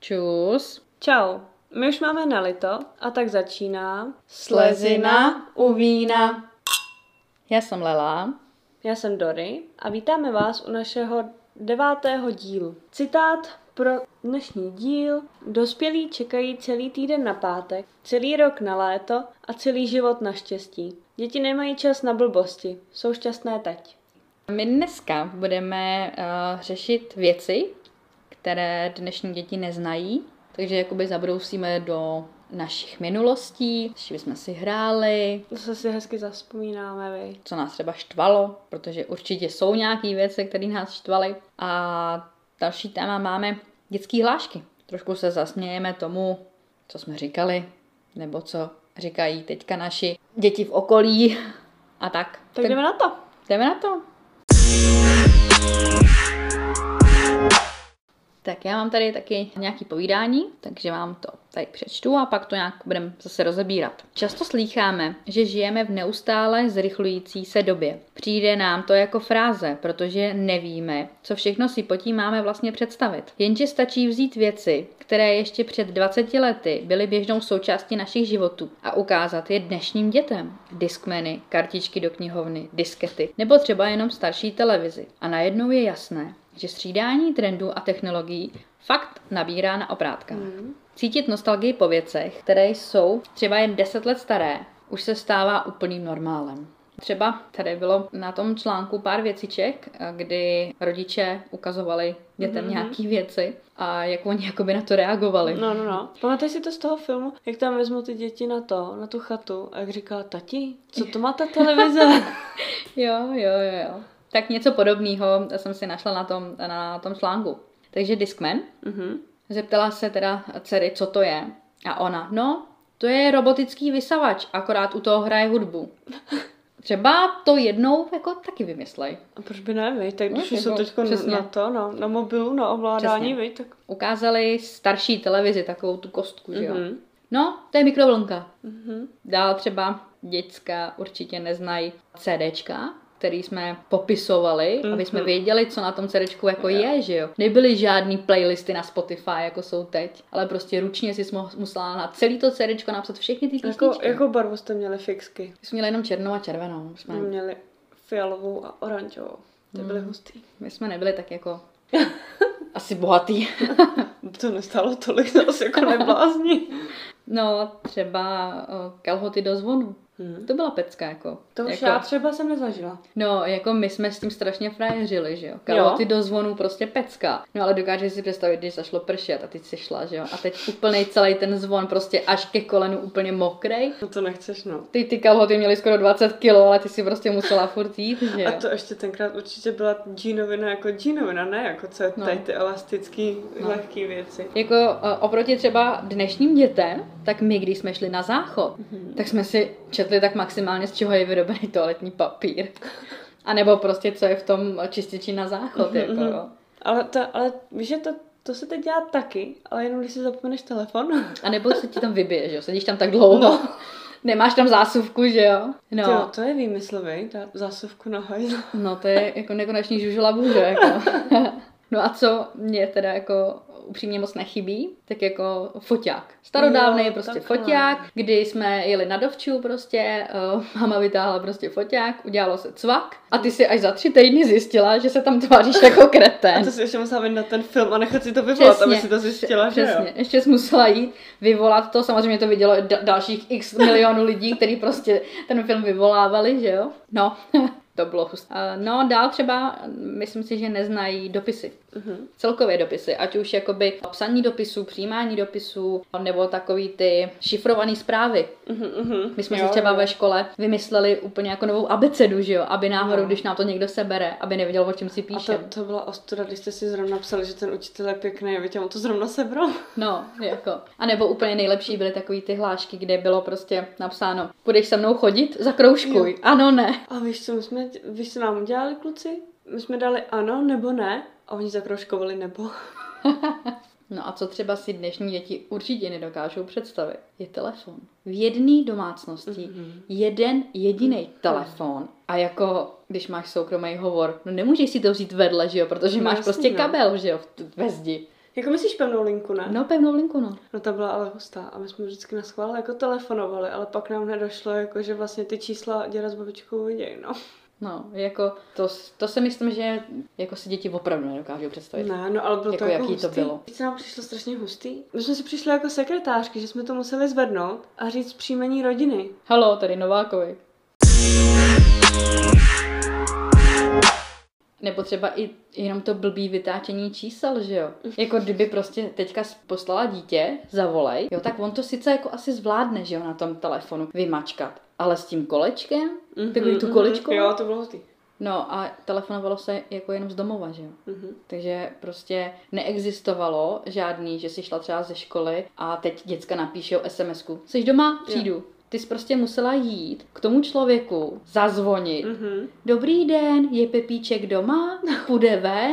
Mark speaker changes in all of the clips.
Speaker 1: Čus.
Speaker 2: Čau, my už máme na lito a tak začíná.
Speaker 1: Slezina
Speaker 2: u vína.
Speaker 1: Já jsem Lela.
Speaker 2: Já jsem Dory a vítáme vás u našeho devátého dílu. Citát pro dnešní díl. Dospělí čekají celý týden na pátek, celý rok na léto a celý život na štěstí. Děti nemají čas na blbosti, jsou šťastné teď.
Speaker 1: My dneska budeme uh, řešit věci, které dnešní děti neznají, takže jakoby zabrousíme do našich minulostí, s čím jsme si hráli,
Speaker 2: Zase si hezky zaspomínáme, vy.
Speaker 1: co nás třeba štvalo, protože určitě jsou nějaké věci, které nás štvaly. A další téma máme dětské hlášky. Trošku se zasmějeme tomu, co jsme říkali, nebo co říkají teďka naši děti v okolí a tak.
Speaker 2: Tak jdeme na to.
Speaker 1: jdeme na to. Tak já mám tady taky nějaký povídání, takže vám to tady přečtu a pak to nějak budeme zase rozebírat. Často slýcháme, že žijeme v neustále zrychlující se době. Přijde nám to jako fráze, protože nevíme, co všechno si potím máme vlastně představit. Jenže stačí vzít věci, které ještě před 20 lety byly běžnou součástí našich životů a ukázat je dnešním dětem. Diskmeny, kartičky do knihovny, diskety nebo třeba jenom starší televizi. A najednou je jasné, že střídání trendů a technologií fakt nabírá na obrátkách. Mm. Cítit nostalgii po věcech, které jsou třeba jen 10 let staré, už se stává úplným normálem. Třeba tady bylo na tom článku pár věciček, eh, kdy rodiče ukazovali dětem mm-hmm. nějaký věci a jak oni jakoby na to reagovali.
Speaker 2: No, no, no. Pamatuješ si to z toho filmu, jak tam vezmu ty děti na to, na tu chatu a jak říká, tati, co to má ta televize?
Speaker 1: Jo, jo, jo, jo. Tak něco podobného jsem si našla na tom, na tom článku. Takže Discman.
Speaker 2: mhm.
Speaker 1: Zeptala se teda dcery, co to je. A ona, no, to je robotický vysavač, akorát u toho hraje hudbu. Třeba to jednou jako taky vymyslej.
Speaker 2: A proč by ne, viď? Tak
Speaker 1: No,
Speaker 2: když
Speaker 1: tak
Speaker 2: jsou
Speaker 1: jo,
Speaker 2: teď
Speaker 1: přesně.
Speaker 2: na to, no, na mobilu, na ovládání,
Speaker 1: Přesně.
Speaker 2: viď? Tak...
Speaker 1: Ukázali starší televizi takovou tu kostku, že jo.
Speaker 2: Mhm.
Speaker 1: No, to je mikrovlnka.
Speaker 2: Mhm.
Speaker 1: Dál třeba děcka určitě neznají CDčka, který jsme popisovali, aby jsme
Speaker 2: Mhm.
Speaker 1: věděli, co na tom CDčku jako je, že jo. Nebyly žádný playlisty na Spotify, jako jsou teď, ale prostě ručně si musela na celý to CDčko napsat všechny ty písničky.
Speaker 2: Jako, jako barvu jste měli fixky.
Speaker 1: My jsme měli jenom černou a červenou. My jsme,
Speaker 2: My měli fialovou a oranžovou. Ty byly hustý.
Speaker 1: my jsme nebyli tak jako asi bohatý.
Speaker 2: To nestálo tolik, zase jako neblázni.
Speaker 1: No, třeba o, kalhoty do zvonu.
Speaker 2: Mhm.
Speaker 1: To byla pecka, jako.
Speaker 2: To už
Speaker 1: jako,
Speaker 2: já třeba jsem nezažila.
Speaker 1: No, jako my jsme s tím strašně frajeřili, že jo. Kalhoty
Speaker 2: Jo.
Speaker 1: do zvonu prostě pecka. No, ale dokážeš si představit, když zašlo pršet a ty jsi šla, že jo. A teď úplnej celý ten zvon prostě až ke kolenu úplně mokrej.
Speaker 2: No to nechceš, no.
Speaker 1: Ty, ty kalhoty měly skoro 20 kg, ale ty si prostě musela furt jít, že jo.
Speaker 2: A to ještě tenkrát určitě byla džínovina jako džínovina, ne jako co je
Speaker 1: No.
Speaker 2: tady ty elastický,
Speaker 1: No.
Speaker 2: lehký věci.
Speaker 1: Jako eh, oproti třeba dnešním dětem, tak my, když jsme šli na záchod,
Speaker 2: Mhm.
Speaker 1: mm-hmm. tak jsme si četli tak maximálně, z čeho je vyrobený toaletní papír. A nebo prostě, co je v tom čističi na záchod. Mm-hmm. Jako,
Speaker 2: mhm.
Speaker 1: no.
Speaker 2: Ale, to, ale víš, že to, to se teď dělá taky, ale jenom když si zapomeneš telefon.
Speaker 1: A nebo se ti tam vybije, že jo? Sedíš tam tak dlouho. No.
Speaker 2: No.
Speaker 1: Nemáš tam zásuvku, že jo? No,
Speaker 2: No. Jo, to je výmysl, vej, ta zásuvku na hajzl.
Speaker 1: no to je jako nekonečný žužela bůže, jako. No a co mě teda jako upřímně moc nechybí, tak jako foťák. Starodávný
Speaker 2: Jo,
Speaker 1: prostě
Speaker 2: takhle.
Speaker 1: foťák, kdy jsme jeli na dovču prostě, uh, máma vytáhla prostě foťák, udělalo se cvak a ty si až za tři týdny zjistila, že se tam tváříš jako
Speaker 2: A
Speaker 1: kretén.
Speaker 2: to si ještě musela vydat ten film a nechat si to vyvolat, aby si to zjistila, že
Speaker 1: přesně.
Speaker 2: jo.
Speaker 1: Ještě jsi musela jít vyvolat to, samozřejmě to vidělo da- dalších x milionů lidí, který prostě ten film vyvolávali, že jo? No, to bylo husté. Eh, No, dál třeba, myslím si, že neznají dopisy.
Speaker 2: Mhm.
Speaker 1: Celkově dopisy, ať už jakoby psaní dopisů, přijímání dopisů, nebo takový ty šifrované zprávy.
Speaker 2: Mhm, mhm.
Speaker 1: My jsme
Speaker 2: Jo,
Speaker 1: si třeba
Speaker 2: jo.
Speaker 1: ve škole vymysleli úplně jako novou abecedu, že jo? Aby náhodou,
Speaker 2: No.
Speaker 1: když nám to někdo sebere, aby nevěděl, o čem si
Speaker 2: A
Speaker 1: píše.
Speaker 2: to, to byla ostuda, když jste si zrovna psali, že ten učitel je pěkný, víte, on to zrovna sebral.
Speaker 1: No, jako. A nebo úplně nejlepší byly takový ty hlášky, kde bylo prostě napsáno, budeš se mnou chodit, zakroužkuj. Jo. Ano, ne.
Speaker 2: A víš, co my jsme, víš, co nám udělali kluci? My jsme dali ano nebo ne a oni zakroškovali nebo.
Speaker 1: No a co třeba si dnešní děti určitě nedokážou představit, je telefon. V jedné domácnosti
Speaker 2: Mhm.
Speaker 1: jeden jediný telefon. A jako, když máš soukromý hovor, no nemůžeš si to vzít vedle, že jo, protože
Speaker 2: No
Speaker 1: máš
Speaker 2: jasný,
Speaker 1: prostě
Speaker 2: no.
Speaker 1: kabel, že jo, v t- ve zdi.
Speaker 2: Jako myslíš pevnou linku, ne?
Speaker 1: No, pevnou linku, no.
Speaker 2: No ta byla ale hustá a my jsme vždycky na schvál jako telefonovali, ale pak nám nedošlo, jako, že vlastně ty čísla děda s babičkou viděj, no.
Speaker 1: No, jako, to, s- to si myslím, že jako si děti opravdu nedokážou představit.
Speaker 2: Ne, no ale bylo
Speaker 1: Jako
Speaker 2: to jako
Speaker 1: jaký to
Speaker 2: hustý.
Speaker 1: bylo?
Speaker 2: Víš, co nám přišlo strašně hustý? My jsme si přišli jako sekretářky, že jsme to museli zvednout a říct příjmení rodiny.
Speaker 1: Halo, tady Novákovi. Nebo třeba i jenom to blbý vytáčení čísel, že jo? Jako kdyby prostě teďka s- poslala dítě, zavolej, jo, tak on to sice jako asi zvládne, že jo, na tom telefonu vymačkat. Ale s tím kolečkem, takový tu
Speaker 2: mhm,
Speaker 1: kolečko,
Speaker 2: Jo, to bylo hustý.
Speaker 1: no a telefonovalo se jako jenom z domova, že jo?
Speaker 2: Mhm.
Speaker 1: Takže prostě neexistovalo žádný, že si šla třeba ze školy a teď děcka napíšou SMS-ku. Jsi doma? Přijdu. Ty jsi prostě musela jít k tomu člověku, zazvonit.
Speaker 2: Mhm.
Speaker 1: Dobrý den, je Pepíček doma? Půjde ven?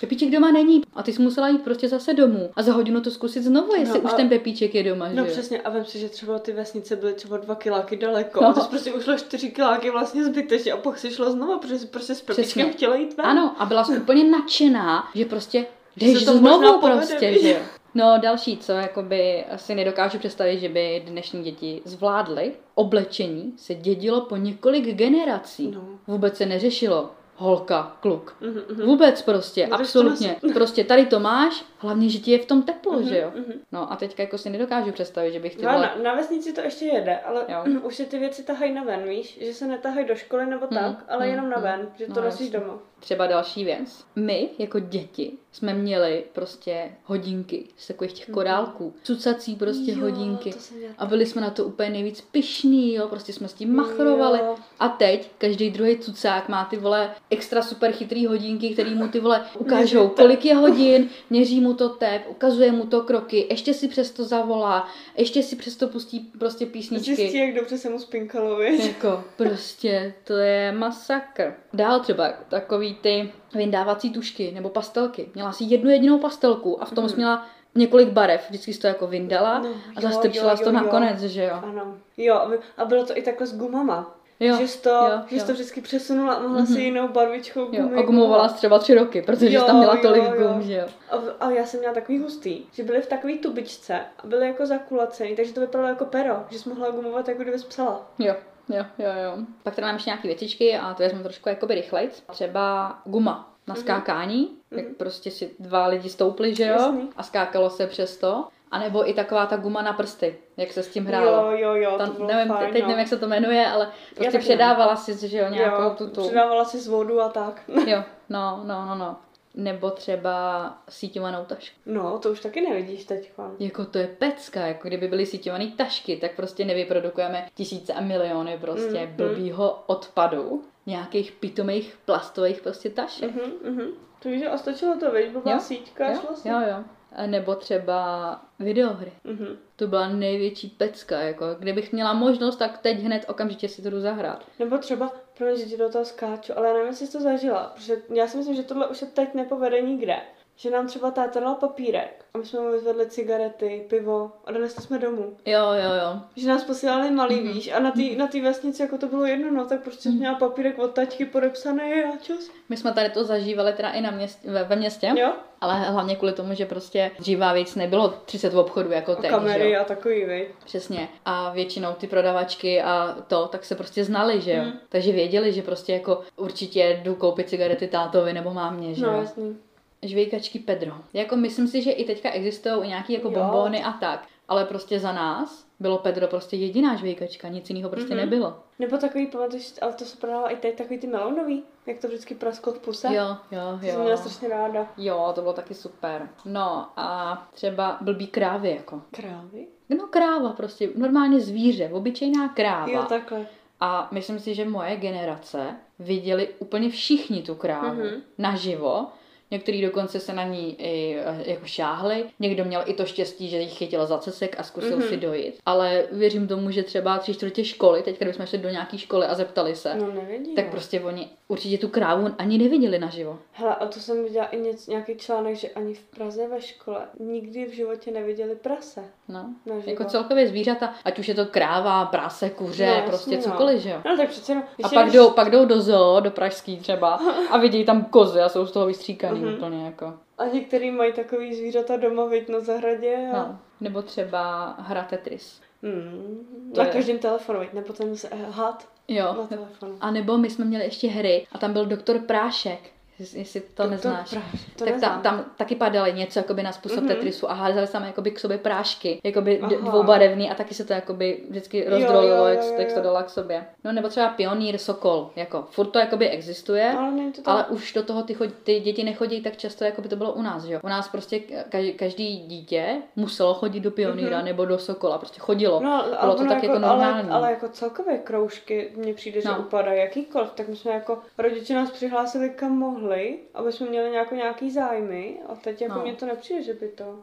Speaker 1: Pepíček doma není. A ty jsi musela jít prostě zase domů. A za hodinu to zkusit znovu, jestli
Speaker 2: No
Speaker 1: už
Speaker 2: a-
Speaker 1: ten Pepíček je doma,
Speaker 2: No
Speaker 1: že jo?
Speaker 2: přesně, a vem si, že třeba ty vesnice byly třeba dva kiláky daleko.
Speaker 1: No.
Speaker 2: No. A ty jsi prostě ušla čtyři kiláky vlastně zbytečně a pak si šla znovu, protože jsi prostě s
Speaker 1: Přesně.
Speaker 2: pepičkem chtěla jít ven.
Speaker 1: Ano, a byla jsi úplně nadšená, že prostě
Speaker 2: Že se
Speaker 1: jdeš
Speaker 2: to
Speaker 1: znovu
Speaker 2: možná povede,
Speaker 1: prostě,
Speaker 2: víš.
Speaker 1: že jo. No další, co jakoby si nedokážu představit, že by dnešní děti zvládly, oblečení se dědilo po několik generací.
Speaker 2: No.
Speaker 1: Vůbec se neřešilo holka, kluk.
Speaker 2: Mhm, mhm.
Speaker 1: Vůbec prostě,
Speaker 2: No, tak to
Speaker 1: absolutně. Prostě tady to máš, hlavně, že ti je v tom teplo,
Speaker 2: Mhm,
Speaker 1: že jo.
Speaker 2: mhm.
Speaker 1: No a teďka jako si nedokážu představit, že bych
Speaker 2: No,
Speaker 1: chtěla...
Speaker 2: na, na vesnici to ještě jede, ale
Speaker 1: Jo.
Speaker 2: už se ty věci tahají na ven, víš? Že se netahají do školy nebo
Speaker 1: Mm,
Speaker 2: tak, ale
Speaker 1: mm,
Speaker 2: jenom na
Speaker 1: mm.
Speaker 2: ven, že to
Speaker 1: No,
Speaker 2: nosíš
Speaker 1: jasně.
Speaker 2: doma.
Speaker 1: Třeba další věc. My, jako děti, jsme měli prostě hodinky z takových těch korálků. Cucací prostě
Speaker 2: Mhm. jo,
Speaker 1: hodinky.
Speaker 2: To jsem dělala.
Speaker 1: A byli jsme na to úplně nejvíc pišní, jo, prostě jsme s tím machrovali.
Speaker 2: Jo.
Speaker 1: A teď každý druhý cucák má ty vole extra super chytrý hodinky, který mu ty vole ukážou,
Speaker 2: Měří
Speaker 1: kolik je hodin, měří mu to tep, ukazuje mu to kroky, ještě si přesto zavolá, ještě si přesto pustí prostě písničky.
Speaker 2: Zjistí, jak dobře se mu spinkalo, víš?
Speaker 1: Jako, prostě, to je masakr. Dál třeba takový ty vyndávací tušky nebo pastelky. Měla si jednu jedinou pastelku a v tom jsi
Speaker 2: Mhm.
Speaker 1: měla několik barev. Vždycky jsi to jako vyndala
Speaker 2: No,
Speaker 1: a
Speaker 2: jo,
Speaker 1: zase ty
Speaker 2: jo,
Speaker 1: přišla jsi to
Speaker 2: jo, jo.
Speaker 1: nakonec, že jo?
Speaker 2: Ano. Jo, a by- a bylo to i takhle s gumama.
Speaker 1: Jo,
Speaker 2: že jsi to,
Speaker 1: jo,
Speaker 2: že jsi to
Speaker 1: jo.
Speaker 2: vždycky přesunula a mohla
Speaker 1: Mhm.
Speaker 2: si jinou barvičkou gumy.
Speaker 1: jo. A gumovala jsi třeba tři roky, protože jsi tam
Speaker 2: Jo,
Speaker 1: měla
Speaker 2: jo,
Speaker 1: tolik
Speaker 2: jo.
Speaker 1: gum, že jo?
Speaker 2: A, v- a já jsem měla takový hustý, že byly v takový tubičce a byly jako zakulacený, takže to vypadalo jako pero, že jsi mohla gumovat, jako kdybys psala.
Speaker 1: Jo. Jo, jo, jo. Pak tady mám ještě nějaké věcičky a to vezmu trošku jakoby rychlejc. Třeba guma na
Speaker 2: Mhm.
Speaker 1: skákání, tak
Speaker 2: Mhm.
Speaker 1: prostě si dva lidi stoupli, že jo?
Speaker 2: Jasný.
Speaker 1: A skákalo se přesto. A nebo i taková ta guma na prsty, jak se s tím hrálo.
Speaker 2: Jo, jo, jo, to
Speaker 1: Tam,
Speaker 2: bylo
Speaker 1: nevím,
Speaker 2: fajn,
Speaker 1: te- teď
Speaker 2: no.
Speaker 1: nevím, jak se to jmenuje, ale prostě
Speaker 2: taky
Speaker 1: předávala si, že jo, nějakou
Speaker 2: jo,
Speaker 1: tu tu.
Speaker 2: Přidávala si z vodu a tak.
Speaker 1: Jo, no, no, no, no. Nebo třeba síťovanou tašku.
Speaker 2: No, to už taky nevidíš teď. Pan.
Speaker 1: Jako to je pecka, jako kdyby byly síťované tašky, tak prostě nevyprodukujeme tisíce a miliony prostě
Speaker 2: Mm, mm.
Speaker 1: blbýho odpadu, nějakých pitomých plastových prostě tašek.
Speaker 2: Mhm, mhm. To víš, a stačilo to, veď, byla
Speaker 1: Jo,
Speaker 2: síťka a šlo
Speaker 1: Jo,
Speaker 2: si.
Speaker 1: jo, jo. A Nebo třeba videohry.
Speaker 2: Mhm.
Speaker 1: To byla největší pecka, jako kdybych měla možnost, tak teď hned okamžitě si to jdu zahrát.
Speaker 2: Nebo třeba, pro že ti do toho skáču, ale já nevím, jestli jsi to zažila, protože já si myslím, že tohle už se teď nepovede nikde. Že nám třeba táta dal papírek a my jsme mu vyzvedli cigarety, pivo a donesli jsme domů.
Speaker 1: Jo, jo, jo.
Speaker 2: Že nás posílali malý,
Speaker 1: Mhm.
Speaker 2: víš, a na té na tý vesnici jako to bylo jedno, no, tak prostě jsi měla papírek od tačky podepsaný a čus.
Speaker 1: My jsme tady to zažívali teda i na městě, ve, ve městě,
Speaker 2: Jo?
Speaker 1: ale hlavně kvůli tomu, že prostě dřívá věc nebylo 30 obchodů jako
Speaker 2: A
Speaker 1: teď, že
Speaker 2: kamery
Speaker 1: jo?
Speaker 2: a takový, vej.
Speaker 1: Přesně. A většinou ty prodavačky a to, tak se prostě znali, že jo?
Speaker 2: Mm.
Speaker 1: Takže věděli, že prostě jako určitě jdu koupit cigarety tátovi nebo mámě, že
Speaker 2: No,
Speaker 1: jo?
Speaker 2: jasný.
Speaker 1: Žvejkačky Pedro. Jako myslím si, že i teďka existují nějaký jako
Speaker 2: Jo.
Speaker 1: bombóny a tak, ale prostě za nás bylo Pedro prostě jediná žvejkačka, nic jiného prostě
Speaker 2: Mhm.
Speaker 1: nebylo.
Speaker 2: Nebo takový, pamatuješ, ale to se prodává i teď, takový ty melonový, jak to vždycky prasklo v puse.
Speaker 1: Jo, jo,
Speaker 2: To
Speaker 1: jo.
Speaker 2: jsem měla strašně ráda.
Speaker 1: Jo, to bylo taky super. No a třeba blbý krávy, jako.
Speaker 2: Krávy?
Speaker 1: No kráva prostě, normálně zvíře, obyčejná kráva.
Speaker 2: Jo, takhle.
Speaker 1: A myslím si, že moje generace viděli úplně všichni tu krávu
Speaker 2: Mhm.
Speaker 1: naživo. Některý dokonce se na ní i eh, jako šáhli. Někdo měl i to štěstí, že jich chytil za cecek a zkusil
Speaker 2: Mhm.
Speaker 1: mm-hmm. si dojít. Ale věřím tomu, že třeba tři čtvrtě školy, teď kdybychom šli do nějaké školy a zeptali se,
Speaker 2: No nevidím.
Speaker 1: tak prostě oni určitě tu krávu ani neviděli naživo.
Speaker 2: Hele, a to jsem viděla i něco, nějaký článek, že ani v Praze ve škole nikdy v životě neviděli prase.
Speaker 1: No.
Speaker 2: Naživo.
Speaker 1: Jako celkově zvířata, ať už je to kráva, prase, kuře,
Speaker 2: No,
Speaker 1: no, prostě
Speaker 2: jasně, no.
Speaker 1: cokoliv, že jo.
Speaker 2: No tak přece jenom...
Speaker 1: A
Speaker 2: když
Speaker 1: pak
Speaker 2: jdeš-
Speaker 1: jdou, pak jdou do zoo, do pražský třeba, a vidějí tam kozy a jsou z toho vystříkaný
Speaker 2: Mhm.
Speaker 1: mm-hmm. úplně jako.
Speaker 2: A některý mají takový zvířata doma, viď, na zahradě. A...
Speaker 1: No. Nebo třeba hra Tetris.
Speaker 2: Mm,
Speaker 1: To
Speaker 2: na
Speaker 1: je-
Speaker 2: každém telefonu, veď, nebo ten se- had na
Speaker 1: Jo.
Speaker 2: telefonu.
Speaker 1: No, A nebo my jsme měli ještě hry a tam byl doktor Prášek, jest- jestli to
Speaker 2: Doktor
Speaker 1: neznáš.
Speaker 2: Prášek, to
Speaker 1: tak
Speaker 2: neznám.
Speaker 1: tam, tam taky padaly něco jakoby na způsob
Speaker 2: Mhm.
Speaker 1: mm-hmm. Tetrisu a házeli tam jakoby k sobě prášky, jakoby d-
Speaker 2: Aha.
Speaker 1: dvoubarevný a taky se to jakoby vždycky
Speaker 2: Jo,
Speaker 1: rozdrolilo,
Speaker 2: jo,
Speaker 1: jak,
Speaker 2: jo,
Speaker 1: se- jak se
Speaker 2: jo.
Speaker 1: to dala k sobě. No nebo třeba pionýr, sokol, jako furt to jakoby existuje.
Speaker 2: Ale není to tam.
Speaker 1: Ale už do toho ty, chod, ty děti nechodí tak často, jako by to bylo u nás, že jo? U nás prostě ka- každý dítě muselo chodit do pionýra
Speaker 2: Mhm.
Speaker 1: mm-hmm. nebo do sokola, prostě chodilo.
Speaker 2: No, ale
Speaker 1: Bylo to
Speaker 2: ono
Speaker 1: tak jako
Speaker 2: ale,
Speaker 1: normální.
Speaker 2: ale jako celkové kroužky mně přijde, že
Speaker 1: No.
Speaker 2: upadají jakýkoliv, tak my jsme jako rodiče nás přihlásili kam mohli, aby jsme měli nějakou, nějaký zájmy a teď jako
Speaker 1: No.
Speaker 2: mně to nepřijde, že by to...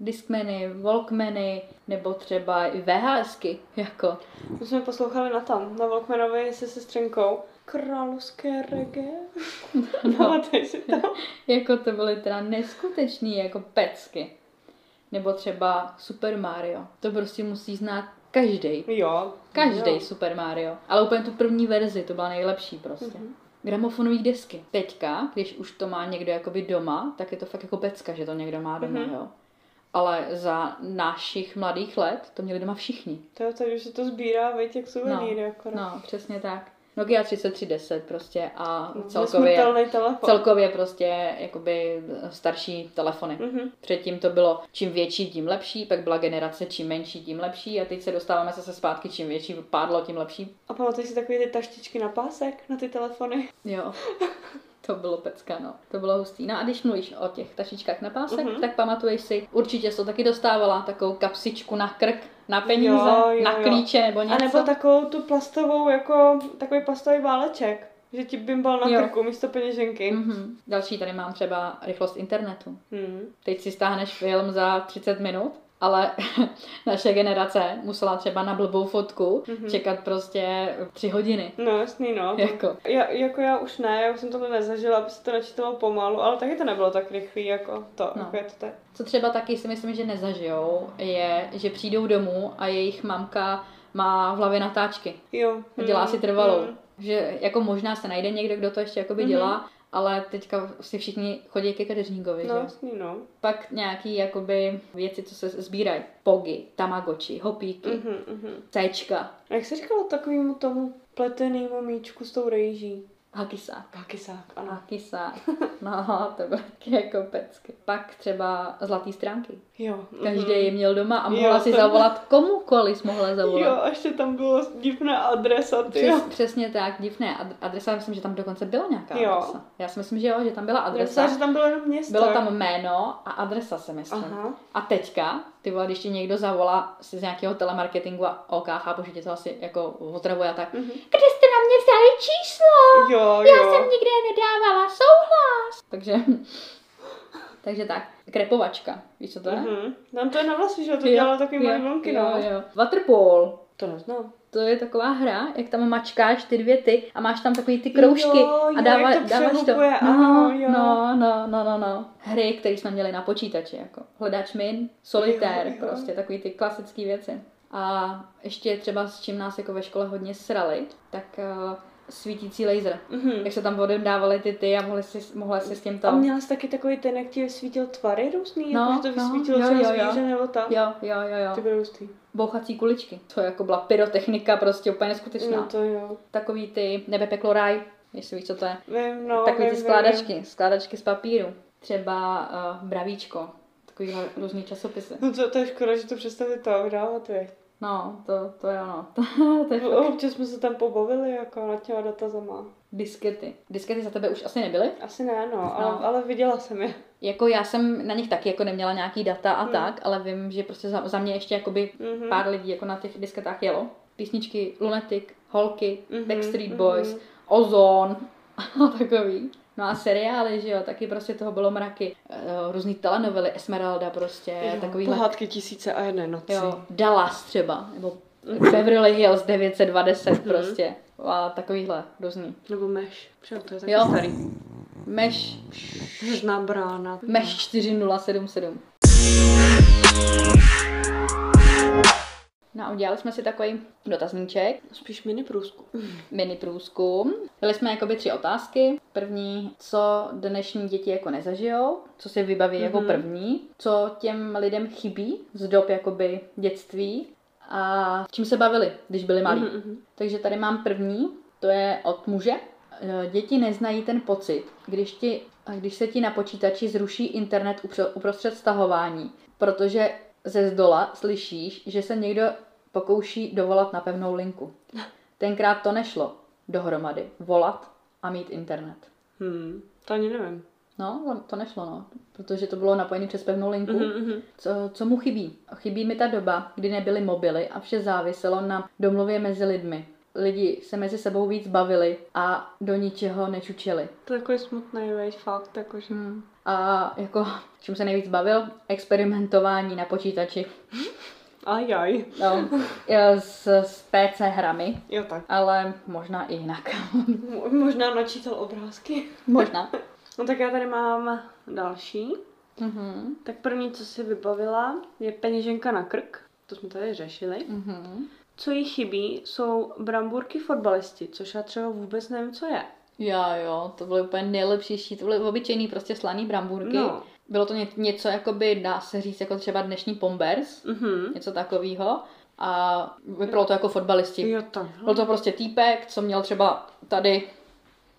Speaker 1: Discmeny, Walkmeny, nebo třeba i VHSky, jako.
Speaker 2: My jsme poslouchali na tam, na Walkmanovi se sestřenkou královské reggae. No. si to.
Speaker 1: jako to byly teda neskutečný jako pecky. Nebo třeba Super Mario. To prostě musí znát každý.
Speaker 2: Jo.
Speaker 1: Každý
Speaker 2: Jo.
Speaker 1: Super Mario. Ale úplně tu první verzi, to byla nejlepší prostě.
Speaker 2: Mhm.
Speaker 1: Mm-hmm. Gramofonové desky. Teďka, když už to má někdo jakoby doma, tak je to fakt jako pecka, že to někdo má doma,
Speaker 2: Mhm.
Speaker 1: mm-hmm. jo. Ale za našich mladých let to měli doma všichni.
Speaker 2: To jo, tady už se to sbírá, veď, jak suvenýry no. akorát.
Speaker 1: No, přesně tak. Nokia 3310 prostě a
Speaker 2: No,
Speaker 1: celkově,
Speaker 2: nesmrtelný telefon.
Speaker 1: celkově prostě jakoby starší telefony.
Speaker 2: Mhm.
Speaker 1: Předtím to bylo čím větší, tím lepší, pak byla generace čím menší, tím lepší a teď se dostáváme zase zpátky, čím větší pádlo, tím lepší.
Speaker 2: A pamatuješ si takové ty taštičky na pásek, na ty telefony?
Speaker 1: Jo. To bylo pecka, no. To bylo hustý. No a když mluvíš o těch tašičkách na pásek,
Speaker 2: Mhm.
Speaker 1: mm-hmm. tak pamatuješ si, určitě jsi to taky dostávala, takovou kapsičku na krk, na peníze,
Speaker 2: Jo, jo,
Speaker 1: na
Speaker 2: jo.
Speaker 1: klíče nebo něco.
Speaker 2: A nebo takovou tu plastovou, jako takový plastový váleček, že ti bimbal na
Speaker 1: Jo.
Speaker 2: krku místo peněženky.
Speaker 1: Mm-hmm. Další tady mám třeba rychlost internetu.
Speaker 2: Hmm.
Speaker 1: Teď si stáhneš film za 30 minut, ale naše generace musela třeba na blbou fotku
Speaker 2: Mhm.
Speaker 1: mm-hmm. čekat prostě 3 hodiny.
Speaker 2: No jasný, no.
Speaker 1: Jako.
Speaker 2: Já, jako já už ne, já už jsem tohle nezažila, aby se to načítalo pomalu, ale taky to nebylo tak rychlý jako to, no.
Speaker 1: No.
Speaker 2: jako je to tak.
Speaker 1: Co třeba taky si myslím, že nezažijou, je, že přijdou domů a jejich mamka má v hlavě natáčky.
Speaker 2: Jo.
Speaker 1: A dělá
Speaker 2: hmm,
Speaker 1: si trvalou.
Speaker 2: hmm.
Speaker 1: Že jako možná se najde někdo, kdo to ještě jakoby
Speaker 2: Mhm.
Speaker 1: dělá, ale teďka si všichni chodí ke kadeřníkovi,
Speaker 2: No
Speaker 1: že? jo?
Speaker 2: jasný, no.
Speaker 1: Pak nějaký jakoby věci, co se sbírají. Pogy, tamagoči, hopíky, mm.
Speaker 2: Mhm, mhm.
Speaker 1: céčka,
Speaker 2: A Jak se říkalo takovému tomu pletenýmu míčku s tou rejží?
Speaker 1: hakisák.
Speaker 2: Kakisák, ano.
Speaker 1: Hakisák. No, to byly taky jako pecky. Pak třeba zlatý stránky.
Speaker 2: Jo.
Speaker 1: Každý
Speaker 2: mhm.
Speaker 1: je měl doma a
Speaker 2: Jo,
Speaker 1: mohla si
Speaker 2: to-
Speaker 1: zavolat komukoliv, jsi mohla zavolat.
Speaker 2: Jo, a ještě tam bylo divná adresa, ty.
Speaker 1: Přes, přesně tak, divné. Ad- Adresa, myslím, že tam dokonce byla nějaká
Speaker 2: Jo.
Speaker 1: adresa. Já si myslím, že jo, že tam byla
Speaker 2: Já
Speaker 1: adresa.
Speaker 2: Myslím, že tam bylo jenom město.
Speaker 1: Bylo tam jméno a adresa, si myslím.
Speaker 2: Aha.
Speaker 1: A teďka, ty vole, když ti někdo zavolá si z nějakého telemarketingu a OK, chápu, že tě to asi jako otravuje a tak.
Speaker 2: Mhm.
Speaker 1: Kde jste na mě vzali číslo?
Speaker 2: Jo,
Speaker 1: Já
Speaker 2: jo.
Speaker 1: jsem nikde nedávala souhlas. Takže, takže tak. Krepovačka, víš, co to je?
Speaker 2: Mhm. Tam to je na vlasy, že jo, to
Speaker 1: Jo,
Speaker 2: dělalo takový
Speaker 1: jo,
Speaker 2: malý vlnky,
Speaker 1: jo,
Speaker 2: no.
Speaker 1: jo. Waterpol.
Speaker 2: To neznám.
Speaker 1: To je taková hra, jak tam mačkáš ty dvě ty a máš tam takový ty kroužky
Speaker 2: Jo,
Speaker 1: a
Speaker 2: jo, jak to
Speaker 1: dáváš to.
Speaker 2: přehubuje, ano, jo.
Speaker 1: no, no, no, no, no. Hry, které jsme měli na počítači, jako hledač min, solitér,
Speaker 2: Jo, jo.
Speaker 1: prostě takový ty klasické věci. A ještě třeba s čím nás jako ve škole hodně srali, tak uh, svítící laser.
Speaker 2: Mhm.
Speaker 1: Jak se tam vodem dávaly ty ty a mohly si, mohla si s tím to...
Speaker 2: A měla jsi taky takový ten, jak ti svítil tvary různý,
Speaker 1: No,
Speaker 2: no, jakože to
Speaker 1: no,
Speaker 2: vysvítilo
Speaker 1: jo,
Speaker 2: třeba
Speaker 1: jo, jo.
Speaker 2: zvíře nebo tak.
Speaker 1: Jo, jo, jo,
Speaker 2: To
Speaker 1: jo.
Speaker 2: bylo hustý.
Speaker 1: Bouchací kuličky. To jako byla pyrotechnika, prostě úplně neskutečná.
Speaker 2: No to jo.
Speaker 1: Takový ty nebe peklo ráj, jestli víš, co to je.
Speaker 2: Vím, no,
Speaker 1: Takové
Speaker 2: vím,
Speaker 1: ty
Speaker 2: vím, vím.
Speaker 1: skládačky, skládačky z papíru. Třeba uh, bravíčko, takový různý časopisy.
Speaker 2: No to, to je škoda, že to přestali to dávat, vě.
Speaker 1: No, to, to je ono. To, to je fakt.
Speaker 2: No, Občas jsme se tam pobavili, jako nad těma dotazama.
Speaker 1: Diskety. Diskety za tebe už asi nebyly?
Speaker 2: Asi ne, no, ale,
Speaker 1: No.
Speaker 2: ale viděla jsem je.
Speaker 1: Jako já jsem na nich taky jako neměla nějaký data a
Speaker 2: Hmm.
Speaker 1: hmm. tak, ale vím, že prostě za, za mě ještě jakoby
Speaker 2: Mhm.
Speaker 1: pár lidí jako na těch disketách jelo. Písničky Lunatic, Holky,
Speaker 2: Mhm,
Speaker 1: Backstreet Boys,
Speaker 2: mhm.
Speaker 1: ozon a takový. No a seriály, že jo, taky prostě toho bylo mraky. Eh, Různý telenovely, Esmeralda prostě,
Speaker 2: Jo,
Speaker 1: takový
Speaker 2: Pohádky tisíce a jedné noci.
Speaker 1: Jo, Dallas třeba, nebo Beverly Hills 920
Speaker 2: Mhm.
Speaker 1: prostě. A takovýhle různý.
Speaker 2: Nebo meš. Přijel, to je taky
Speaker 1: Jo.
Speaker 2: starý.
Speaker 1: Meš,
Speaker 2: Žná brána.
Speaker 1: Meš 4077. No a udělali jsme si takový dotazníček,
Speaker 2: Spíš mini průzkum.
Speaker 1: mini průzkum. Dali jsme jakoby tři otázky. První, co dnešní děti jako nezažijou, co si vybaví mm-hmm. jako
Speaker 2: Mhm.
Speaker 1: první, co těm lidem chybí z dob jakoby dětství a čím se bavili, když byli malí. Mm-hmm.
Speaker 2: Mhm.
Speaker 1: Takže tady mám první, to je od muže. E, Děti neznají ten pocit, když, ti, a když se ti na počítači zruší internet upřo- uprostřed stahování, protože ze zdola slyšíš, že se někdo pokouší dovolat na pevnou linku. Tenkrát to nešlo dohromady. Volat a mít internet.
Speaker 2: Hmm. To ani nevím.
Speaker 1: No, to nešlo, no. Protože to bylo napojené přes pevnou linku.
Speaker 2: Mhm, mhm.
Speaker 1: Co, co mu chybí? Chybí mi ta doba, kdy nebyly mobily a vše záviselo na domluvě mezi lidmi. Lidi se mezi sebou víc bavili a do ničeho nečučili.
Speaker 2: To je takový smutný veď, fakt, jako, jakože.
Speaker 1: Hmm. A jako, čím se nejvíc bavil? Experimentování na počítači.
Speaker 2: Ajaj.
Speaker 1: No, eh, s, s PC hrami,
Speaker 2: Jo tak.
Speaker 1: ale možná i jinak.
Speaker 2: Mo- Možná načítal obrázky.
Speaker 1: možná.
Speaker 2: No tak já tady mám další.
Speaker 1: Mhm.
Speaker 2: Tak první, co si vybavila, je peněženka na krk. To jsme tady řešili.
Speaker 1: Mhm.
Speaker 2: Co jí chybí, jsou bramburky fotbalisti, což já třeba vůbec nevím, co je.
Speaker 1: Já jo, to byly úplně nejlepší, to byly obyčejný prostě slaný bramburky.
Speaker 2: No.
Speaker 1: Bylo to ně, něco, jakoby, dá se říct, jako třeba dnešní Pombers,
Speaker 2: Mhm.
Speaker 1: něco takového. A vypadalo to jako fotbalisti.
Speaker 2: Jo tak.
Speaker 1: Byl to prostě týpek, co měl třeba tady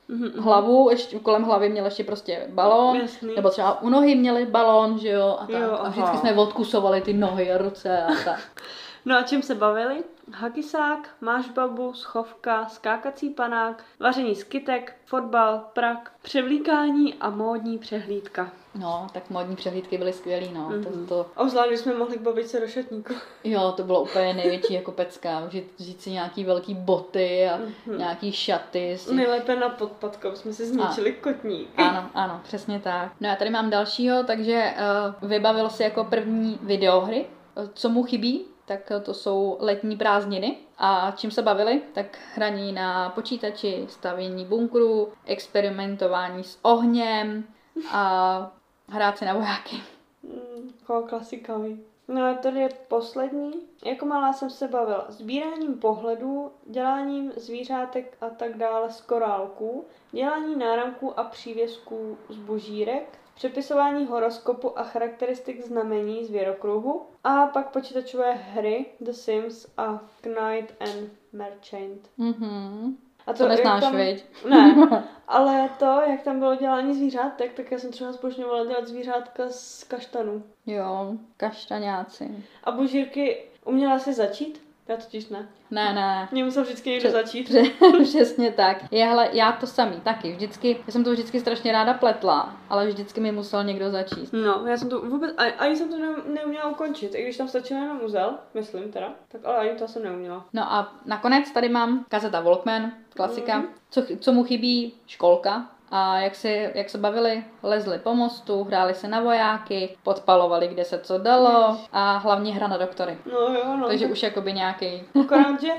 Speaker 2: Mhm.
Speaker 1: hlavu, ještě kolem hlavy měl ještě prostě balón,
Speaker 2: Jasný.
Speaker 1: nebo třeba u nohy měli balón, že jo, a tak.
Speaker 2: Jo,
Speaker 1: a
Speaker 2: aha.
Speaker 1: vždycky jsme odkusovali ty nohy a ruce a tak.
Speaker 2: No a čím se bavili? Hakisák, máš babu, schovka, skákací panák, vaření z kytek, fotbal, prak, převlíkání a módní přehlídka.
Speaker 1: No, tak modní přehlídky byly skvělý, no. Mm-hmm. To, to,
Speaker 2: A zvlášť, když jsme mohli k babičce do šatníku.
Speaker 1: jo, to bylo úplně největší jako pecka, vzít, vzít si nějaký velký boty
Speaker 2: Mhm.
Speaker 1: a mm-hmm. nějaký šaty. s-
Speaker 2: Nejlépe na podpadkou jsme si zničili kotník.
Speaker 1: Ano, ano, přesně tak. No já tady mám dalšího, takže uh, vybavil si jako první videohry. Eh, Co mu chybí? Tak eh, to jsou letní prázdniny. A čím se bavili? Tak hraní na počítači, stavění bunkrů, experimentování s ohněm a hrát si na vojáky.
Speaker 2: Mm, Taková klasika, viď? No a tady je poslední. Jako malá jsem se bavila sbíráním pohledů, děláním zvířátek a tak dále z korálků, dělání náramků a přívěsků z božírek, přepisování horoskopu a charakteristik znamení z věrokruhu a pak počítačové hry The Sims a Knight and Merchant.
Speaker 1: Mhm.
Speaker 2: A
Speaker 1: To neznáš,
Speaker 2: jak
Speaker 1: tam...
Speaker 2: tam...
Speaker 1: viď?
Speaker 2: Ne, ale to, jak tam bylo dělání zvířátek, tak já jsem třeba zbožňovala dělat zvířátka z kaštanů.
Speaker 1: Jo, kaštaňáci.
Speaker 2: A božírky, uměla jsi začít? Já totiž ne.
Speaker 1: Ne, ne,
Speaker 2: Mě musel vždycky někdo
Speaker 1: Přes-
Speaker 2: začít.
Speaker 1: Pře- Přesně tak. Je, hele, já to samý taky. Vždycky, já jsem to vždycky strašně ráda pletla, ale vždycky mi musel někdo začíst.
Speaker 2: No, já jsem to vůbec, ani, ani jsem to ne, neuměla ukončit, i když tam stačilo jenom uzel, myslím teda, tak ale ani to jsem neuměla.
Speaker 1: No a nakonec tady mám kazeta Walkman, klasika. Mm. Co, ch- co mu chybí? Školka. A jak, si, jak se bavili? Lezli po mostu, hráli se na vojáky, podpalovali, kde se co dalo a hlavně hra na doktory.
Speaker 2: No jo, no.
Speaker 1: Takže
Speaker 2: tak
Speaker 1: už jakoby nějaký.
Speaker 2: Akorát, že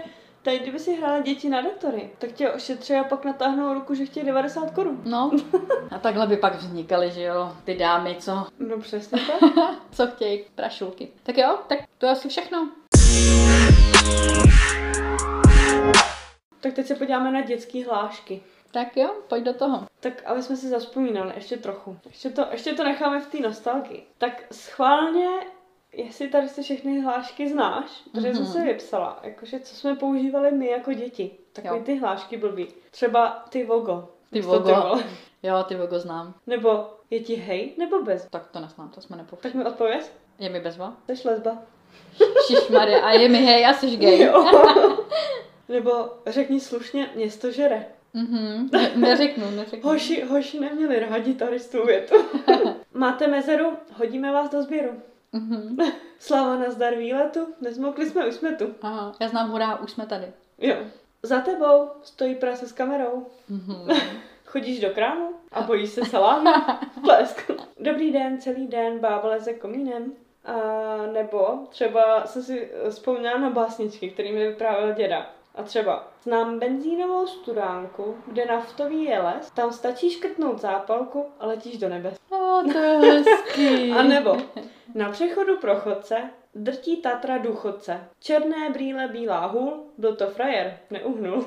Speaker 2: tady kdyby si hrála děti na doktory, tak tě ošetří a pak natáhnou ruku, že chtějí 90 korun.
Speaker 1: No. A takhle by pak vznikaly, že jo, ty dámy, co,
Speaker 2: No přesně tak.
Speaker 1: co chtějí, prašulky. Tak jo, tak to je asi všechno.
Speaker 2: tak teď se podíváme na dětské hlášky.
Speaker 1: Tak jo, pojď do toho.
Speaker 2: Tak aby jsme si zaspomínali ještě trochu. Ještě to, ještě to necháme v té nostalgii. Tak schválně, jestli tady si všechny hlášky znáš, protože mm-hmm. jsem
Speaker 1: Mhm.
Speaker 2: se vypsala, jakože co jsme používali my jako děti. Takový
Speaker 1: Jo.
Speaker 2: ty hlášky blbý. Třeba ty vogo.
Speaker 1: Ty
Speaker 2: Co to
Speaker 1: vogo.
Speaker 2: bylo?
Speaker 1: Jo, ty vogo znám.
Speaker 2: Nebo je ti hej, nebo bez.
Speaker 1: Tak to neznám, to jsme nepoužili.
Speaker 2: Tak mi odpověz.
Speaker 1: Je mi bezva?
Speaker 2: Jsi lesba.
Speaker 1: Šišmaria, a je mi hej, já jsi gay.
Speaker 2: Jo. nebo řekni slušně, město žere.
Speaker 1: Mhm, ne- neřeknu, neřeknu.
Speaker 2: Hoši, hoši neměli rádi tady tu větu. Máte mezeru, hodíme vás do sběru.
Speaker 1: Mhm.
Speaker 2: Sláva na zdar výletu, nezmokli jsme, už jsme tu.
Speaker 1: Aha, já znám hurá, už jsme tady.
Speaker 2: Jo. Za tebou stojí prase s kamerou.
Speaker 1: Mhm.
Speaker 2: Chodíš do krámu a bojíš se salámu? Plesk. Dobrý den, celý den bába leze komínem. A nebo třeba jsem si eh, vzpomněla na básničky, které mi vyprávěl děda. A třeba znám benzínovou studánku, kde naftový je les, tam stačí škrtnout zápalku a letíš do nebe.
Speaker 1: No, to je hezký.
Speaker 2: A nebo na přechodu pro chodce drtí Tatra důchodce. Černé brýle, bílá hůl, byl to frajer, neuhnul.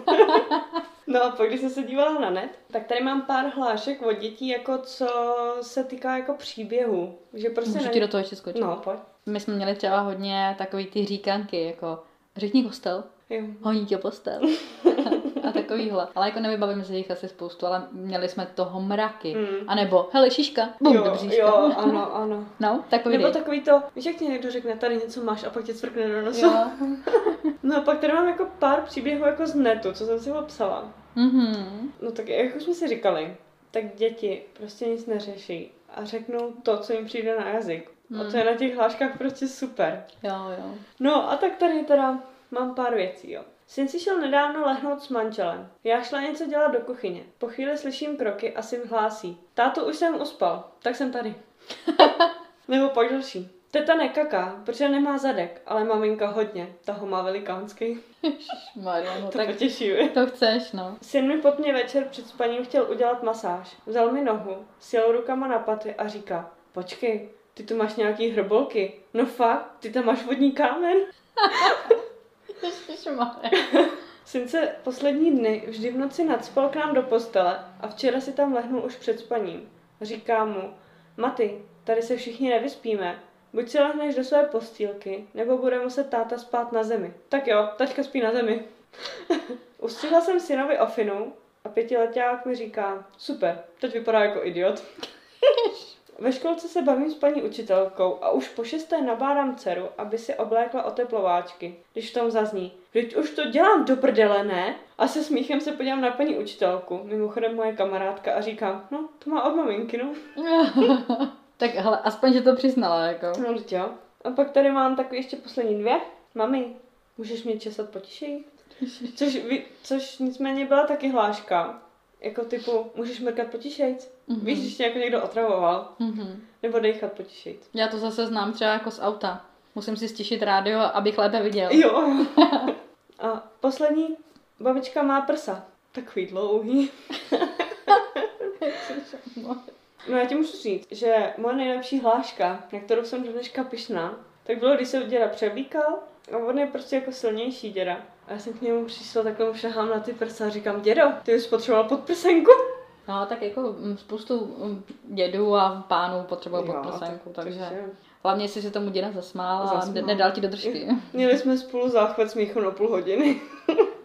Speaker 2: no a pak, když jsem se dívala na net, tak tady mám pár hlášek od dětí, jako co se týká jako příběhu. Že prostě
Speaker 1: Můžu ti do toho ještě skočit.
Speaker 2: No, pojď.
Speaker 1: My jsme měli třeba hodně takový ty říkanky, jako řekni kostel,
Speaker 2: Jo.
Speaker 1: honí tě postel. a takovýhle. Ale jako nevybavím se jich asi spoustu, ale měli jsme toho mraky.
Speaker 2: Mm.
Speaker 1: A nebo, hele, šiška, bum,
Speaker 2: jo,
Speaker 1: dobříška.
Speaker 2: jo, ano, ano.
Speaker 1: No, takový
Speaker 2: Nebo takový to, víš, jak ti někdo řekne, tady něco máš a pak tě cvrkne do nosu.
Speaker 1: Jo.
Speaker 2: No a pak tady mám jako pár příběhů jako z netu, co jsem si opsala.
Speaker 1: Mhm.
Speaker 2: No tak jak už jsme si říkali, tak děti prostě nic neřeší a řeknou to, co jim přijde na jazyk. A to je na těch hláškách prostě super.
Speaker 1: Jo, jo.
Speaker 2: No a tak tady teda mám pár věcí, jo. Syn si šel nedávno lehnout s manželem. Já šla něco dělat do kuchyně. Po chvíli slyším kroky a syn hlásí. Táto už jsem uspal, tak jsem tady. Nebo pak další. Teta nekaká, protože nemá zadek, ale maminka hodně. Ta ho má velikánský.
Speaker 1: Ježišmarja, no
Speaker 2: To
Speaker 1: tak
Speaker 2: potěší, vi?
Speaker 1: to chceš, no.
Speaker 2: Syn mi po tmě večer před spaním chtěl udělat masáž. Vzal mi nohu, sjel rukama na paty a říká, počkej, ty tu máš nějaký hrbolky. No fakt, ty tam máš vodní kámen.
Speaker 1: Ježišmarja.
Speaker 2: Syn se poslední dny vždy v noci nadspal k nám do postele a včera si tam lehnul už před spaním. Říká mu, Maty, tady se všichni nevyspíme. Buď si lehneš do své postýlky, nebo bude muset táta spát na zemi. Tak jo, tačka spí na zemi. Ustřihla jsem synovi ofinu a pětileták mi říká, super, teď vypadá jako idiot. Ve školce se bavím s paní učitelkou a už po šesté nabádám dceru, aby si oblékla oteplováčky, když v tom zazní. Teď už to dělám do prdele, ne? A se smíchem se podívám na paní učitelku, mimochodem moje kamarádka, a říkám, no, to má od maminky, no.
Speaker 1: tak hele, aspoň, že to přiznala, jako.
Speaker 2: No, vždyť jo. A pak tady mám takový ještě poslední dvě. Mami, můžeš mě česat potišeji? Což, vy- což nicméně byla taky hláška. Jako typu, můžeš mrkat potišejc?
Speaker 1: Mhm.
Speaker 2: Víš, když tě jako někdo otravoval.
Speaker 1: Mhm.
Speaker 2: Nebo dejchat potišejc.
Speaker 1: Já to zase znám třeba jako z auta. Musím si stišit rádio, abych lépe viděl.
Speaker 2: Jo. A poslední, babička má prsa. Takový dlouhý. No já ti můžu říct, že moje nejlepší hláška, na kterou jsem do dneška pišná, tak bylo, když se děda převlíkal a on je prostě jako silnější děda. A já jsem k němu přišla, takhle mu šahám na ty prsa a říkám, dědo, ty už potřeboval podprsenku.
Speaker 1: No, tak jako mm, spoustu mm, dědů a pánů potřebuje podprsenku, takže... Hlavně jsi se tomu děda zasmál a
Speaker 2: Zasmál.
Speaker 1: d- nedal ti do držky.
Speaker 2: Měli jsme spolu záchvat smíchu na půl hodiny.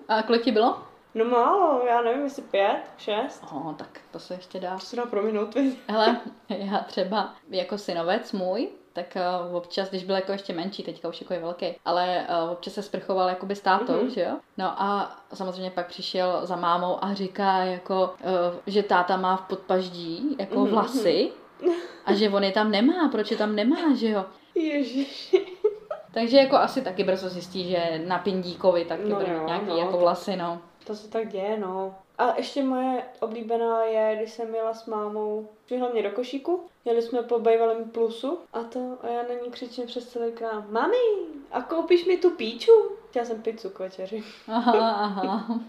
Speaker 1: A kolik ti bylo?
Speaker 2: No málo, já nevím, jestli pět, šest.
Speaker 1: Oh, tak to se ještě dá.
Speaker 2: To se dá prominout, viď?
Speaker 1: Hele, já třeba jako synovec můj, tak uh, občas, když byl jako ještě menší, teďka už jako je velký, ale uh, občas se sprchoval jakoby s tátou,
Speaker 2: Mhm.
Speaker 1: mm-hmm. že jo? No a samozřejmě pak přišel za mámou a říká jako, uh, že táta má v podpaždí jako
Speaker 2: Mhm,
Speaker 1: mm-hmm. vlasy a že on je tam nemá, proč je tam nemá, že jo?
Speaker 2: Ježiši.
Speaker 1: Takže jako asi taky brzo zjistí, že na pindíkovi taky
Speaker 2: No
Speaker 1: no, bude
Speaker 2: jo,
Speaker 1: mít nějaký
Speaker 2: no.
Speaker 1: jako vlasy, no.
Speaker 2: To se tak děje, no. A ještě moje oblíbená je, když jsem jela s mámou, přihla mě do košíku, jeli jsme po bývalém plusu a to a já na ní křičím přes celý krám, mami, a koupíš mi tu píču? Chtěla jsem pizzu k večeři.
Speaker 1: Aha, aha.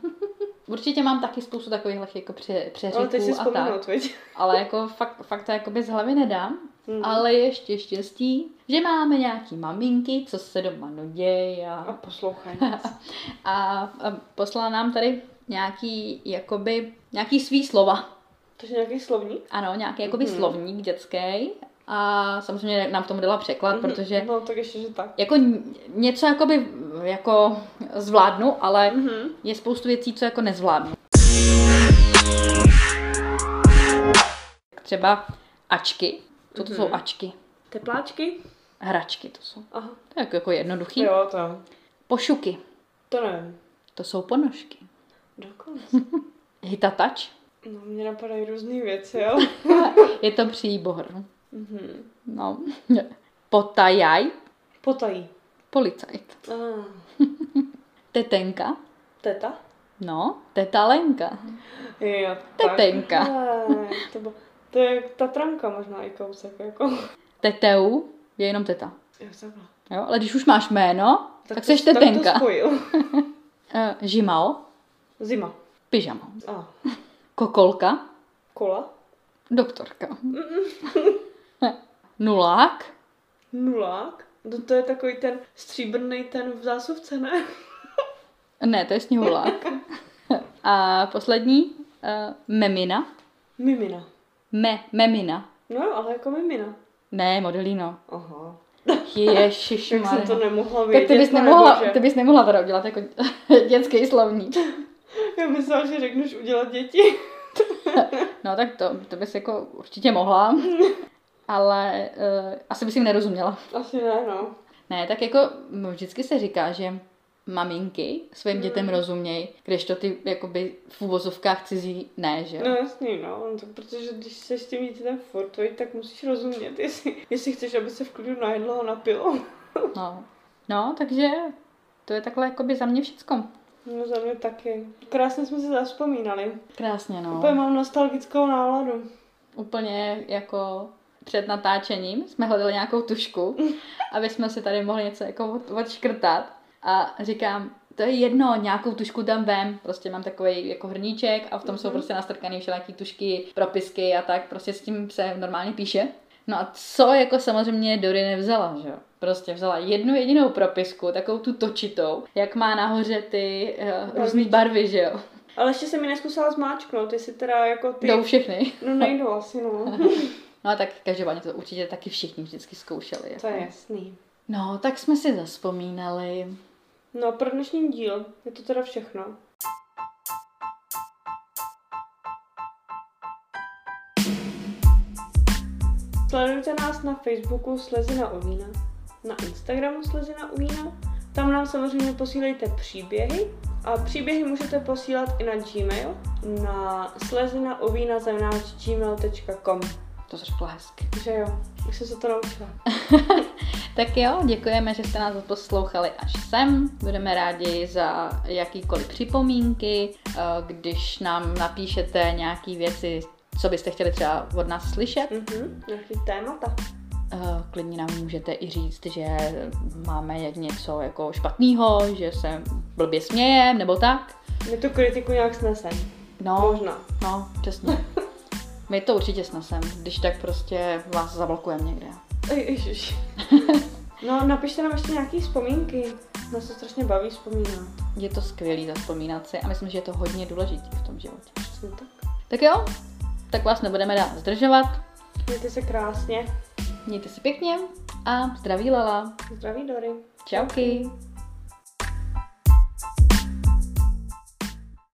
Speaker 1: Určitě mám taky spoustu takových jako pře,
Speaker 2: Ale teď si
Speaker 1: přeřeků a tak.
Speaker 2: vzpomenout, viď?
Speaker 1: Ale jako fakt, fakt to jakoby z hlavy nedám.
Speaker 2: Hmm.
Speaker 1: Ale ještě štěstí, že máme nějaký maminky, co se doma nuděj
Speaker 2: A
Speaker 1: a,
Speaker 2: poslouchej nás.
Speaker 1: a, a poslala nám tady nějaký, jakoby, nějaký svý slova.
Speaker 2: To je nějaký slovník?
Speaker 1: Ano, nějaký jakoby
Speaker 2: Mhm.
Speaker 1: slovník dětský. A samozřejmě nám k tomu dala překlad,
Speaker 2: Mhm,
Speaker 1: protože
Speaker 2: No tak ještě, že tak.
Speaker 1: jako n- něco jakoby, jako zvládnu, ale
Speaker 2: Mhm.
Speaker 1: je spoustu věcí, co jako nezvládnu. Třeba ačky. Co to
Speaker 2: Mhm.
Speaker 1: jsou ačky?
Speaker 2: Tepláčky?
Speaker 1: Hračky to jsou.
Speaker 2: Aha.
Speaker 1: Tak jako jednoduchý.
Speaker 2: Jo, to.
Speaker 1: Pošuky.
Speaker 2: To nevím.
Speaker 1: To jsou ponožky.
Speaker 2: Dokonce.
Speaker 1: Hitatač.
Speaker 2: No, mě napadají různé věci, jo.
Speaker 1: Je to příbor.
Speaker 2: Mhm.
Speaker 1: No. Potajaj.
Speaker 2: Potají.
Speaker 1: Policajt.
Speaker 2: Ah.
Speaker 1: Tetenka.
Speaker 2: Teta?
Speaker 1: No, teta Lenka.
Speaker 2: Jo,
Speaker 1: Tetenka.
Speaker 2: takhle. To, bylo, to je Tatranka možná i kousek, jako.
Speaker 1: Teteu je jenom teta.
Speaker 2: Jo, takhle.
Speaker 1: Jo? Ale když už máš jméno, tak, tak
Speaker 2: to-
Speaker 1: seš tetenka.
Speaker 2: Tak to spojil.
Speaker 1: Eh, Žimao,
Speaker 2: Zima.
Speaker 1: pyžamo.
Speaker 2: A,
Speaker 1: Kokolka,
Speaker 2: kola.
Speaker 1: doktorka. Nulák,
Speaker 2: Nulák. No To, to je takový ten stříbrný ten v zásuvce, ne?
Speaker 1: ne, to je sněhulák. A poslední, eh, memina.
Speaker 2: Mimina.
Speaker 1: Me, memina.
Speaker 2: No jo, ale jako mimina.
Speaker 1: Ne, modelino.
Speaker 2: Aha.
Speaker 1: Ježiš,
Speaker 2: Jak jsem to jako nemohla vědět,
Speaker 1: tak
Speaker 2: no,
Speaker 1: ty bys,
Speaker 2: pane
Speaker 1: nemohla,
Speaker 2: bože.
Speaker 1: ty bys nemohla teda udělat jako dětský slovník.
Speaker 2: Já myslela, že řekneš udělat děti.
Speaker 1: No tak to, to bys jako určitě mohla, ale uh, asi bys jim nerozuměla.
Speaker 2: Asi ne, no.
Speaker 1: Ne, tak jako m, vždycky se říká, že maminky
Speaker 2: Mm.
Speaker 1: svým dětem rozumějí, když to ty jakoby v uvozovkách cizí ne, že
Speaker 2: No
Speaker 1: jo?
Speaker 2: jasný, no, no to, protože když se s tím dítětem fortují, tak musíš rozumět, jestli, jestli chceš, aby se v klidu najedlo a napilo.
Speaker 1: No. no, takže to je takhle jakoby za mě všecko.
Speaker 2: No za mě taky. Krásně jsme se zaspomínali.
Speaker 1: Krásně, no.
Speaker 2: Úplně mám nostalgickou náladu.
Speaker 1: Úplně jako před natáčením jsme hledali nějakou tušku, aby jsme si tady mohli něco jako od, odškrtat. A říkám, to je jedno, nějakou tušku tam vem. Prostě mám takový jako hrníček a v tom jsou
Speaker 2: Mhm.
Speaker 1: prostě nastrkaný všelijaký tušky, propisky a tak. Prostě s tím se normálně píše. No a co jako samozřejmě Dory nevzala, že jo? Prostě vzala jednu jedinou propisku, takovou tu točitou, jak má nahoře ty uh, různé barvy, že jo?
Speaker 2: Ale ještě se mi neskusila zmáčknout, jestli teda jako ty...
Speaker 1: Jdou všechny.
Speaker 2: No nejdu asi, no.
Speaker 1: No a tak každopádně to určitě taky všichni vždycky zkoušeli.
Speaker 2: to
Speaker 1: jako.
Speaker 2: je jasný.
Speaker 1: No, tak jsme si zaspomínali.
Speaker 2: No pro dnešní díl je to teda všechno. Sledujte nás na Facebooku Slezina u vína, na Instagramu Slezina u vína. Tam nám samozřejmě posílejte příběhy a příběhy můžete posílat i na Gmail na slezinaovína.gmail.com
Speaker 1: To jsi řekla hezky.
Speaker 2: Že jo, už jsem se to naučila.
Speaker 1: Tak jo, děkujeme, že jste nás poslouchali až sem. Budeme rádi za jakýkoliv připomínky, eh, když nám napíšete nějaký věci, co byste chtěli třeba od nás slyšet.
Speaker 2: Mhm, nějaký témata.
Speaker 1: Eh, Klidně nám můžete i říct, že máme jak něco jako špatného, že se blbě smějem, nebo tak.
Speaker 2: My tu kritiku nějak snesem.
Speaker 1: No,
Speaker 2: Možná.
Speaker 1: no, přesně. My to určitě snesem, když tak prostě vás zablokujeme někde.
Speaker 2: Ej, ježiš. No, napište nám ještě nějaký vzpomínky. Nás to strašně baví vzpomínat.
Speaker 1: Je to skvělý zaspomínat si a myslím, že je to hodně důležitý v tom životě.
Speaker 2: Přesně tak.
Speaker 1: Tak jo, tak vás nebudeme dál zdržovat.
Speaker 2: Mějte se krásně.
Speaker 1: Mějte se pěkně a zdraví Lala.
Speaker 2: Zdraví Dory.
Speaker 1: Čauky.